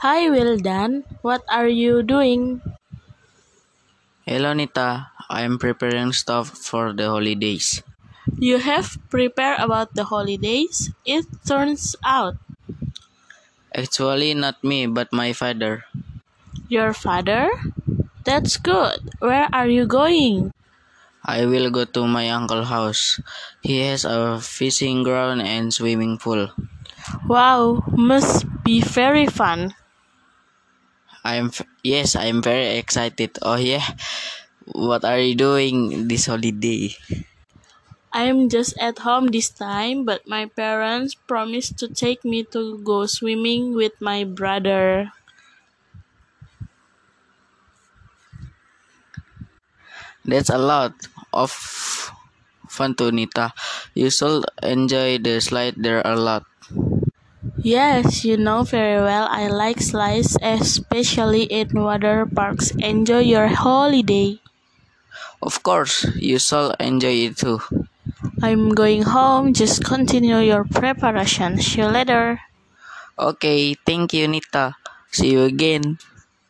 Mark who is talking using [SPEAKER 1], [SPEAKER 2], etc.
[SPEAKER 1] Hi Wildan, what are you doing?
[SPEAKER 2] Hello Nita, I'm preparing stuff for the holidays.
[SPEAKER 1] You have prepared about the holidays? It turns out
[SPEAKER 2] Actually, not me, but my father.
[SPEAKER 1] your father? That's good. Where are you going?
[SPEAKER 2] I will go to my uncle's house. He has a fishing ground and swimming pool.
[SPEAKER 1] Wow, must be very fun.
[SPEAKER 2] I'm f- yes, I'm very excited. Oh yeah, what are you doing this holiday?
[SPEAKER 1] I'm just at home this time, but my parents promised to take me to go swimming with my brother.
[SPEAKER 2] That's a lot of fun to Nita. You should enjoy the slide there a lot.
[SPEAKER 1] Yes, you know very well I like slides, especially in water parks. Enjoy your holiday.
[SPEAKER 2] Of course, you shall enjoy it too.
[SPEAKER 1] I'm going home. Just continue your preparation. See you later.
[SPEAKER 2] Okay, thank you Nita. See you again.